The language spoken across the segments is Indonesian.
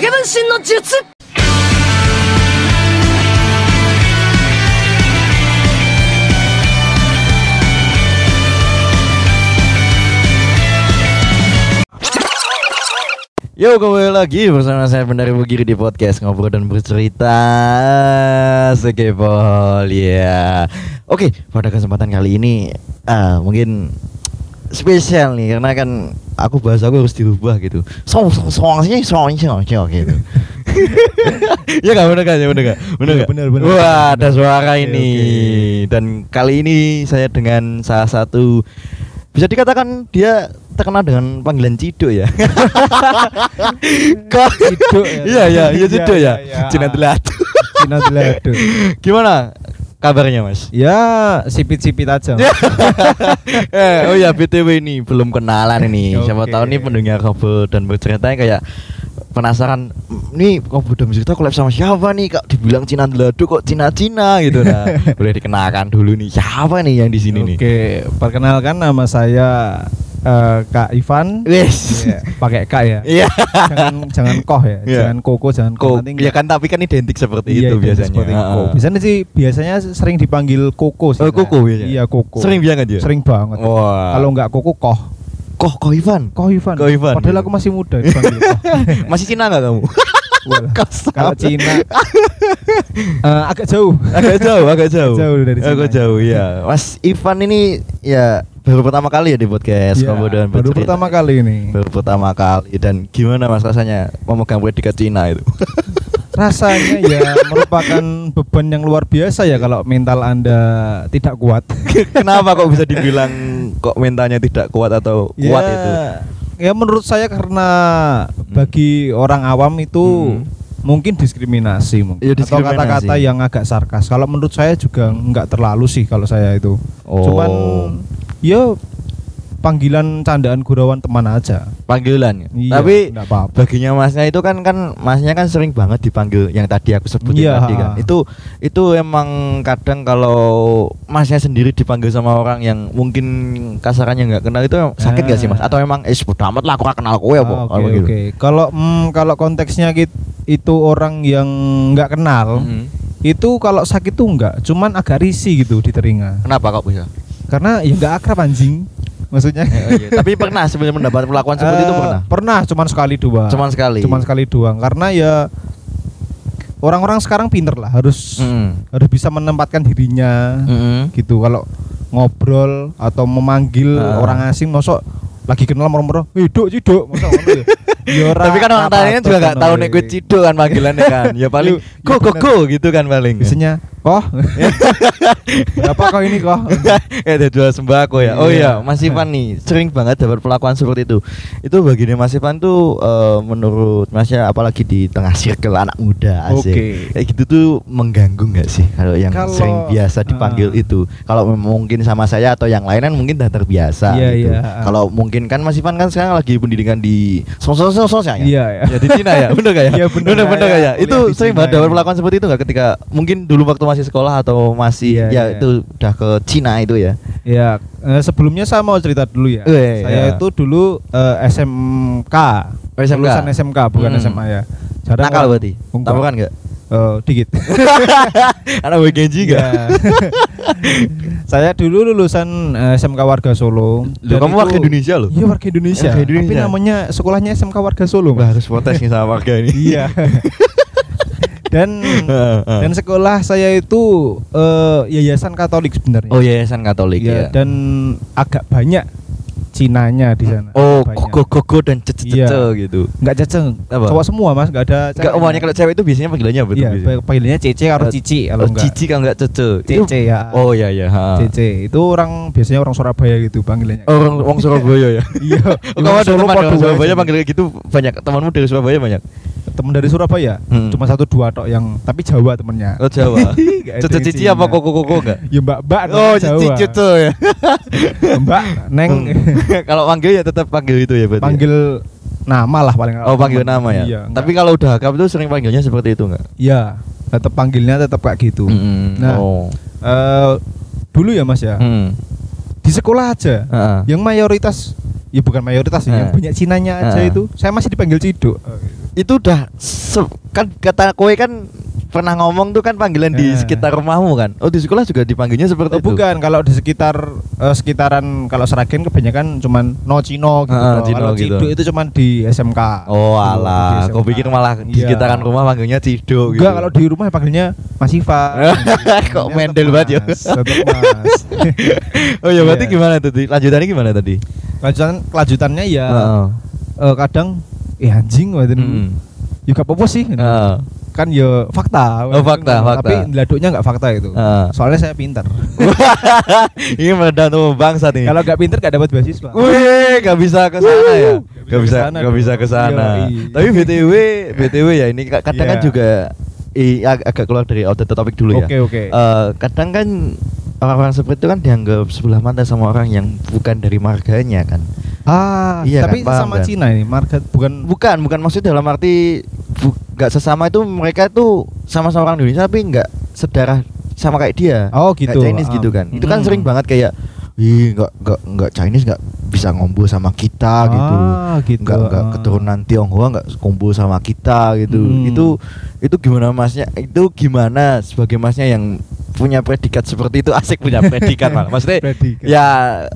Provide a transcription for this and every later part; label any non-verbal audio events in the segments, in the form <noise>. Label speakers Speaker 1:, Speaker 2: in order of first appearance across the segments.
Speaker 1: 影分身の術
Speaker 2: Yo kembali lagi bersama saya Benar Bugiri di podcast ngobrol dan bercerita Sekepol ya. Oke pada kesempatan kali ini ah, mungkin spesial nih karena kan aku bahasa aku harus dirubah gitu. Song song song sih song song song gitu. <laughs> ya gak bener kan ya bener gak bener
Speaker 3: Iya,
Speaker 2: gak?
Speaker 3: bener, bener.
Speaker 2: wah ada suara
Speaker 3: Oke,
Speaker 2: ini dan kali ini saya dengan salah satu bisa dikatakan dia terkenal dengan panggilan Cido ya <laughs> Kok
Speaker 3: Cido ya.
Speaker 2: Iya iya iya Cido
Speaker 3: Iya,
Speaker 2: ya.
Speaker 3: iya, iya.
Speaker 2: Cina
Speaker 3: <laughs>
Speaker 2: Delat.
Speaker 3: Cina Delado.
Speaker 2: Gimana kabarnya Mas?
Speaker 3: Ya, sipit-sipit
Speaker 2: <laughs>
Speaker 3: aja.
Speaker 2: Ya. eh, oh ya BTW ini belum kenalan ini. Siapa
Speaker 3: Oke.
Speaker 2: tahu nih pendengar kabel dan berceritanya kayak penasaran nih kabel dan bercerita collab sama siapa nih kak dibilang Cina Delado kok Cina Cina gitu nah
Speaker 3: <laughs>
Speaker 2: boleh dikenalkan dulu nih siapa nih yang di sini nih
Speaker 3: Oke, perkenalkan nama saya eh, Kak Ivan.
Speaker 2: wes
Speaker 3: Iya, pakai Kak ya.
Speaker 2: iya
Speaker 3: Jangan jangan koh ya.
Speaker 2: Iya.
Speaker 3: Jangan koko, jangan
Speaker 2: kok
Speaker 3: koh. Nanti
Speaker 2: ya kan tapi kan identik seperti itu
Speaker 3: Iya, identik
Speaker 2: biasanya
Speaker 3: seperti
Speaker 2: Ah,
Speaker 3: koko.
Speaker 2: ah.
Speaker 3: Biasanya sih biasanya sering dipanggil koko sih.
Speaker 2: Oh, koko biasanya?
Speaker 3: Iya, koko.
Speaker 2: sering biang aja
Speaker 3: Sering banget.
Speaker 2: wah
Speaker 3: Kalau nggak koko koh.
Speaker 2: kok kok Ivan
Speaker 3: Koh Ivan.
Speaker 2: Koh Ivan.
Speaker 3: Padahal aku masih muda
Speaker 2: <laughs>
Speaker 3: dipanggil koh.
Speaker 2: masih Cina nggak <laughs> kamu
Speaker 3: Walah.
Speaker 2: Kasar.
Speaker 3: Kalau Cina eh, agak jauh.
Speaker 2: agak jauh, agak jauh.
Speaker 3: Jauh dari sini.
Speaker 2: Agak jauh ya. Mas Ivan ini ya baru pertama kali ya di podcast
Speaker 3: Iya,
Speaker 2: Kamu dan
Speaker 3: baru
Speaker 2: Bercerita.
Speaker 3: pertama kali ini.
Speaker 2: Baru pertama kali dan gimana Mas rasanya memegang predikat Cina itu? <laughs>
Speaker 3: rasanya ya merupakan beban yang luar biasa ya kalau mental anda tidak kuat
Speaker 2: Kenapa kok bisa dibilang kok mentalnya tidak kuat atau kuat
Speaker 3: ya,
Speaker 2: itu?
Speaker 3: ya menurut saya karena bagi orang awam itu
Speaker 2: Hmm.
Speaker 3: mungkin diskriminasi mungkin
Speaker 2: Iya,
Speaker 3: atau
Speaker 2: diskriminasi.
Speaker 3: kata-kata yang agak sarkas kalau menurut saya juga nggak terlalu sih kalau saya itu cuman
Speaker 2: Oh.
Speaker 3: ya panggilan candaan gurauan teman aja
Speaker 2: Panggilan.
Speaker 3: Iya,
Speaker 2: Tapi
Speaker 3: nggak apa-apa
Speaker 2: baginya masnya itu kan kan masnya kan sering banget dipanggil yang tadi aku sebutin
Speaker 3: Iya.
Speaker 2: tadi kan itu itu emang kadang kalau masnya sendiri dipanggil sama orang yang mungkin kasarannya nggak kenal itu sakit nggak sih mas atau emang eh bodo amat lah aku nggak kenal kowe apa
Speaker 3: Ah, Oke,
Speaker 2: Apa
Speaker 3: oke.
Speaker 2: gitu.
Speaker 3: Kalau mm, kalau konteksnya gitu, itu orang yang nggak kenal,
Speaker 2: Mhm.
Speaker 3: itu kalau sakit tuh nggak, cuman agak risih gitu di telinga.
Speaker 2: kenapa kok bisa
Speaker 3: Karena ya nggak akrab anjing, maksudnya.
Speaker 2: Eh, iya. tapi pernah sebenarnya mendapat perlakuan seperti itu
Speaker 3: Eh,
Speaker 2: pernah
Speaker 3: Pernah, cuman sekali dua.
Speaker 2: cuman sekali
Speaker 3: Cuman sekali doang. Karena ya orang-orang sekarang pinter lah, harus
Speaker 2: Mm.
Speaker 3: harus bisa menempatkan dirinya
Speaker 2: Mm-mm.
Speaker 3: gitu. Kalau ngobrol atau memanggil
Speaker 2: Ah.
Speaker 3: orang asing, mosok lagi kenal moro-moro, hidup hidup, mosok ngono ya. Ya ora
Speaker 2: <laughs> tapi kan orang tanya
Speaker 3: apa-apa
Speaker 2: juga nggak tahu
Speaker 3: kan,
Speaker 2: nih gue
Speaker 3: weh.
Speaker 2: cido kan panggilannya kan ya paling
Speaker 3: Iya, iya
Speaker 2: go go
Speaker 3: bener.
Speaker 2: go gitu kan paling
Speaker 3: Biasanya,
Speaker 2: <laughs>
Speaker 3: "Oh." <laughs> koh Berapa kau ini koh
Speaker 2: eh ada jual sembako ya. Oh iya,
Speaker 3: Iya.
Speaker 2: Mas Ivan
Speaker 3: <laughs>
Speaker 2: nih sering banget dapat perlakuan seperti itu. Itu bagiannya Mas Ivan tuh eh, menurut Masnya apalagi di tengah circle anak muda asik.
Speaker 3: Oke.
Speaker 2: Kayak gitu tuh mengganggu nggak sih kalau yang
Speaker 3: Kalau-
Speaker 2: sering biasa dipanggil
Speaker 3: Ah.
Speaker 2: itu. Kalau mem- mungkin sama saya atau yang lain kan mungkin dah terbiasa
Speaker 3: Iya,
Speaker 2: gitu.
Speaker 3: iya, ah.
Speaker 2: Kalau mungkin kan Mas Ivan kan sekarang lagi pendidikan di sosok sosok ya.
Speaker 3: Iya, iya.
Speaker 2: Ya di Cina ya. Bener gak ya?
Speaker 3: Iya, bener
Speaker 2: bener,
Speaker 3: gak
Speaker 2: bener gak
Speaker 3: ya?
Speaker 2: ya? Itu
Speaker 3: Kuliah di
Speaker 2: sering
Speaker 3: Cina,
Speaker 2: banget dapat
Speaker 3: iya.
Speaker 2: perlakuan seperti itu nggak ketika mungkin dulu waktu masih sekolah atau masih
Speaker 3: Iya,
Speaker 2: ya
Speaker 3: iya.
Speaker 2: itu udah ke Cina itu ya.
Speaker 3: Ya eh, sebelumnya saya mau cerita dulu ya
Speaker 2: Eh,
Speaker 3: Saya
Speaker 2: ya.
Speaker 3: itu dulu eh, SMK
Speaker 2: Oh, SMK.
Speaker 3: Lulusan SMK bukan
Speaker 2: Hmm.
Speaker 3: SMA ya
Speaker 2: Nakal
Speaker 3: orang-
Speaker 2: berarti.
Speaker 3: Enggak.
Speaker 2: Tabrakan
Speaker 3: <laughs>
Speaker 2: enggak?
Speaker 3: Eh,
Speaker 2: <laughs>
Speaker 3: Dikit
Speaker 2: Anak gue Genji enggak?
Speaker 3: Ya. <laughs> Saya dulu lulusan eh, SMK Warga Solo
Speaker 2: Loh,
Speaker 3: Dan
Speaker 2: kamu
Speaker 3: itu-
Speaker 2: warga Indonesia loh.
Speaker 3: Iya warga Indonesia.
Speaker 2: Warga Indonesia.
Speaker 3: Tapi namanya sekolahnya SMK Warga Solo
Speaker 2: Wah,
Speaker 3: Mas.
Speaker 2: harus protes nih sama warga ini.
Speaker 3: Iya Dan
Speaker 2: <laughs> Heeh, heeh.
Speaker 3: Dan sekolah saya itu eh, yayasan Katolik sebenarnya.
Speaker 2: Oh, Yayasan Katolik
Speaker 3: Iya,
Speaker 2: ya.
Speaker 3: Dan agak banyak Cinanya di sana.
Speaker 2: Oh,
Speaker 3: Banyak.
Speaker 2: koko koko dan cece-cece
Speaker 3: Iya.
Speaker 2: gitu.
Speaker 3: Nggak caceng.
Speaker 2: Apa?
Speaker 3: Cowok semua mas, nggak ada.
Speaker 2: Enggak umumnya kalau cewek itu biasanya panggilannya apa tuh
Speaker 3: Iya,
Speaker 2: biasanya?
Speaker 3: panggilannya Cece atau
Speaker 2: Eh,
Speaker 3: Cici kalau
Speaker 2: Oh,
Speaker 3: enggak.
Speaker 2: cici kalau enggak cece. Itu-
Speaker 3: Cece ya.
Speaker 2: Oh iya iya, ha.
Speaker 3: Cece itu orang biasanya orang Surabaya gitu panggilannya.
Speaker 2: Orang orang Surabaya ya.
Speaker 3: <laughs>
Speaker 2: <laughs>
Speaker 3: Iya.
Speaker 2: Oh, kamu Oh. ada
Speaker 3: Solo
Speaker 2: teman
Speaker 3: podo
Speaker 2: orang Surabaya
Speaker 3: aja.
Speaker 2: panggil kayak gitu banyak temanmu dari Surabaya banyak.
Speaker 3: Temen dari Surabaya,
Speaker 2: Hmm.
Speaker 3: cuma satu dua tok yang tapi Jawa temennya.
Speaker 2: Oh <laughs> Jawa.
Speaker 3: <laughs> Nggak ada
Speaker 2: Cece
Speaker 3: yang
Speaker 2: cici
Speaker 3: Cina.
Speaker 2: apa koko koko enggak?
Speaker 3: Ya Mbak Mbak
Speaker 2: Oh,
Speaker 3: Jawa.
Speaker 2: cici cece ya.
Speaker 3: <laughs> Mbak Neng
Speaker 2: Hmm. <laughs> kalau panggil ya tetap panggil itu ya berarti. ya?
Speaker 3: panggil nama lah paling
Speaker 2: Oh panggil nama ya.
Speaker 3: Iya.
Speaker 2: Tapi kalau udah akrab tuh sering panggilnya seperti itu nggak?
Speaker 3: ya tetap panggilnya tetap kayak gitu. Nah.
Speaker 2: Oh.
Speaker 3: Eh, dulu ya Mas ya.
Speaker 2: Mm.
Speaker 3: Di sekolah aja.
Speaker 2: Heeh.
Speaker 3: Yang mayoritas ya bukan mayoritas sih, yang
Speaker 2: Heeh.
Speaker 3: banyak cinanya aja
Speaker 2: Heeh. Oh,
Speaker 3: itu. Saya masih dipanggil Ciduk.
Speaker 2: itu udah se- kan kata kowe kan pernah ngomong tuh kan panggilan di
Speaker 3: Eh.
Speaker 2: sekitar rumahmu kan. Oh di sekolah juga dipanggilnya seperti
Speaker 3: Oh,
Speaker 2: itu.
Speaker 3: bukan kalau di sekitar eh, sekitaran kalau Seragen kebanyakan cuman no Cino gitu.
Speaker 2: Ah,
Speaker 3: loh.
Speaker 2: Cino
Speaker 3: kalau
Speaker 2: gitu.
Speaker 3: Ciduk itu cuman di SMK.
Speaker 2: Oh
Speaker 3: Gitu, di
Speaker 2: alah,
Speaker 3: SMK.
Speaker 2: kau pikir malah di
Speaker 3: Iya.
Speaker 2: sekitaran rumah panggilnya Cido gitu.
Speaker 3: Enggak, kalau di rumah ya panggilnya Mas Iva.
Speaker 2: <laughs> Kok mendel banget ya?
Speaker 3: Tetap Mas.
Speaker 2: <laughs> Oh ya berarti
Speaker 3: Iya.
Speaker 2: gimana tadi? Lanjutannya gimana tadi?
Speaker 3: Kelanjutan kelanjutannya ya
Speaker 2: Heeh.
Speaker 3: eh, kadang eh anjing wae
Speaker 2: Hmm.
Speaker 3: Juga apa sih?
Speaker 2: Heeh.
Speaker 3: Kan ya fakta.
Speaker 2: Oh, fakta, fakta. Ah.
Speaker 3: Tapi leduknya enggak fakta itu.
Speaker 2: Heeh.
Speaker 3: Soalnya saya pinter.
Speaker 2: Ini meredah tuh bangsa nih.
Speaker 3: kalau enggak pinter enggak dapat beasiswa.
Speaker 2: Uh, Wih, gak bisa ke sana ya.
Speaker 3: Nggak
Speaker 2: Gak
Speaker 3: bisa
Speaker 2: bisa,
Speaker 3: sana
Speaker 2: gak
Speaker 3: dong.
Speaker 2: bisa ke sana.
Speaker 3: Yoi.
Speaker 2: Tapi BTW, BTW ya ini ka- kadang kan
Speaker 3: Iya.
Speaker 2: juga i, ag- agak keluar dari out the topic dulu ya.
Speaker 3: Oke, oke.
Speaker 2: Eh, kadang kan orang-orang seperti itu kan dianggap sebelah mata sama orang yang bukan dari marganya kan.
Speaker 3: Ah,
Speaker 2: Iya
Speaker 3: tapi
Speaker 2: kan, paham
Speaker 3: sama
Speaker 2: kan?
Speaker 3: Cina ini market bukan
Speaker 2: Bukan, bukan maksud dalam arti bu- nggak sesama itu mereka itu sama-sama orang Indonesia tapi nggak sedarah sama kayak dia.
Speaker 3: Oh, gitu.
Speaker 2: Nggak Chinese
Speaker 3: Ah.
Speaker 2: gitu kan. Itu kan
Speaker 3: Hmm.
Speaker 2: sering banget kayak ih nggak nggak nggak Chinese nggak bisa ngombo sama kita gitu.
Speaker 3: Ah, gitu.
Speaker 2: Nggak nggak
Speaker 3: Ah.
Speaker 2: keturunan Tionghoa nggak kumpul sama kita gitu.
Speaker 3: Hmm.
Speaker 2: Itu itu gimana masnya? Itu gimana sebagai masnya yang punya predikat seperti itu asik punya predikat malah. Maksudnya
Speaker 3: Predikat.
Speaker 2: ya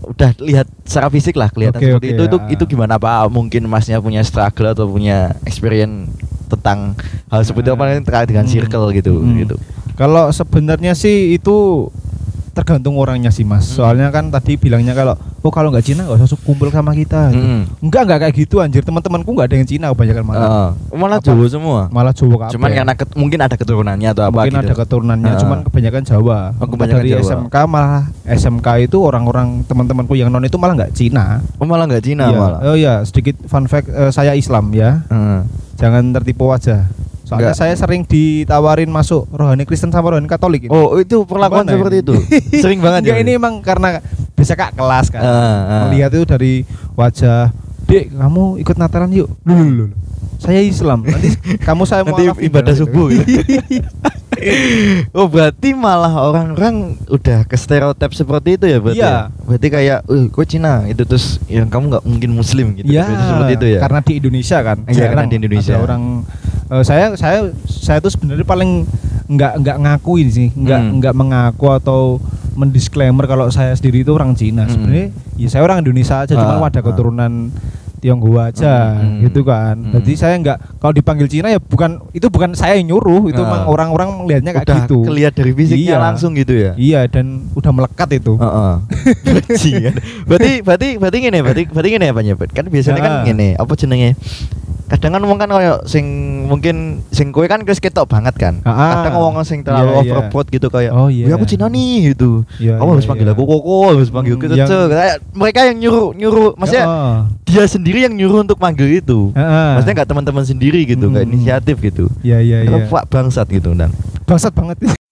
Speaker 2: udah lihat secara fisik lah kelihatan
Speaker 3: Oke,
Speaker 2: seperti
Speaker 3: oke,
Speaker 2: itu. Itu
Speaker 3: ya.
Speaker 2: itu gimana apa mungkin masnya punya struggle atau punya experience tentang hal seperti itu apa terkait dengan
Speaker 3: Hmm.
Speaker 2: circle gitu
Speaker 3: Hmm.
Speaker 2: gitu.
Speaker 3: Kalau sebenarnya sih itu tergantung orangnya sih Mas.
Speaker 2: Hmm.
Speaker 3: Soalnya kan tadi bilangnya kalau oh kalau nggak Cina nggak usah kumpul sama kita.
Speaker 2: Hmm.
Speaker 3: Enggak enggak kayak gitu anjir. Teman-temanku nggak ada yang Cina kebanyakan malah.
Speaker 2: Eh, malah
Speaker 3: apa?
Speaker 2: Jawa semua.
Speaker 3: Malah Jawa kabeh.
Speaker 2: Cuman kan karena ket- mungkin ada keturunannya atau apa
Speaker 3: mungkin
Speaker 2: gitu.
Speaker 3: ada keturunannya,
Speaker 2: Ah.
Speaker 3: cuman kebanyakan Jawa.
Speaker 2: Oh, kebanyakan
Speaker 3: Dari
Speaker 2: Jawa.
Speaker 3: SMK malah SMK itu orang-orang teman-temanku yang non itu malah nggak Cina.
Speaker 2: Oh, malah nggak Cina
Speaker 3: Iya.
Speaker 2: malah.
Speaker 3: Oh iya, sedikit fun fact eh, saya Islam ya.
Speaker 2: Heeh.
Speaker 3: Jangan tertipu wajah. Soalnya
Speaker 2: Enggak.
Speaker 3: saya sering ditawarin masuk rohani Kristen sama rohani Katolik. ini.
Speaker 2: Oh itu perlakuan
Speaker 3: Gimana
Speaker 2: seperti
Speaker 3: ini? <laughs>
Speaker 2: itu. Sering banget.
Speaker 3: Enggak, ini emang karena biasa kak kelas kan.
Speaker 2: Ah, ah.
Speaker 3: Melihat itu dari wajah, "Dek, kamu ikut Natalan yuk." Loh, loh, loh, loh. Saya Islam. Nanti kamu saya
Speaker 2: Hmm.
Speaker 3: mau
Speaker 2: nanti
Speaker 3: alafin,
Speaker 2: ibadah
Speaker 3: gitu.
Speaker 2: subuh. gitu. <laughs> oh berarti malah orang-orang udah ke stereotip seperti itu ya berarti.
Speaker 3: Iya.
Speaker 2: ya? Berarti kayak, eh kok Cina itu terus yang kamu nggak mungkin Muslim gitu.
Speaker 3: Iya,
Speaker 2: Biasanya seperti itu ya.
Speaker 3: Karena di Indonesia kan.
Speaker 2: Iya,
Speaker 3: Jarang
Speaker 2: karena di Indonesia.
Speaker 3: Ada orang eh, saya saya saya tuh sebenarnya paling nggak nggak ngakuin sih, nggak
Speaker 2: Hmm.
Speaker 3: nggak mengaku atau mendisklaimer kalau saya sendiri itu orang Cina.
Speaker 2: Hmm.
Speaker 3: Sebenarnya ya saya orang Indonesia aja, cuma
Speaker 2: Ah,
Speaker 3: ada
Speaker 2: ah.
Speaker 3: keturunan Tionghoa aja
Speaker 2: Hmm.
Speaker 3: gitu kan.
Speaker 2: Hmm.
Speaker 3: Jadi saya nggak kalau dipanggil Cina ya bukan itu bukan saya yang nyuruh, itu
Speaker 2: Ah.
Speaker 3: emang orang-orang melihatnya kayak
Speaker 2: udah
Speaker 3: gitu.
Speaker 2: kelihat dari fisiknya
Speaker 3: Iya.
Speaker 2: langsung gitu ya. Ah.
Speaker 3: Iya dan udah melekat itu.
Speaker 2: <laughs> Heeh. Benci kan. berarti berarti berarti ngene, berarti berarti ngene apa nyebut? Kan biasanya kan
Speaker 3: Heeh.
Speaker 2: ngene, apa jenenge? Kadang kan wong kan koyo sing mungkin sing kowe kan wis ketok banget kan.
Speaker 3: Heeh.
Speaker 2: Kadang ngomong sing terlalu
Speaker 3: Iya, iya.
Speaker 2: overboard gitu kayak,
Speaker 3: Oh, iya.
Speaker 2: "Wih, aku Cina nih" gitu.
Speaker 3: Iya,
Speaker 2: Kamu
Speaker 3: iya,
Speaker 2: harus panggil
Speaker 3: iya.
Speaker 2: aku Koko, harus panggil
Speaker 3: Hmm,
Speaker 2: aku
Speaker 3: yang-
Speaker 2: Cece. Kayak mereka yang nyuruh nyuruh maksudnya
Speaker 3: Heeh.
Speaker 2: dia sendiri yang nyuruh untuk manggil itu.
Speaker 3: Heeh.
Speaker 2: Maksudnya nggak teman-teman sendiri gitu, nggak
Speaker 3: Hmm.
Speaker 2: inisiatif gitu.
Speaker 3: Ah, Iya iya iya.
Speaker 2: Itu Pak bangsat gitu, Nang.
Speaker 3: Bangsat banget.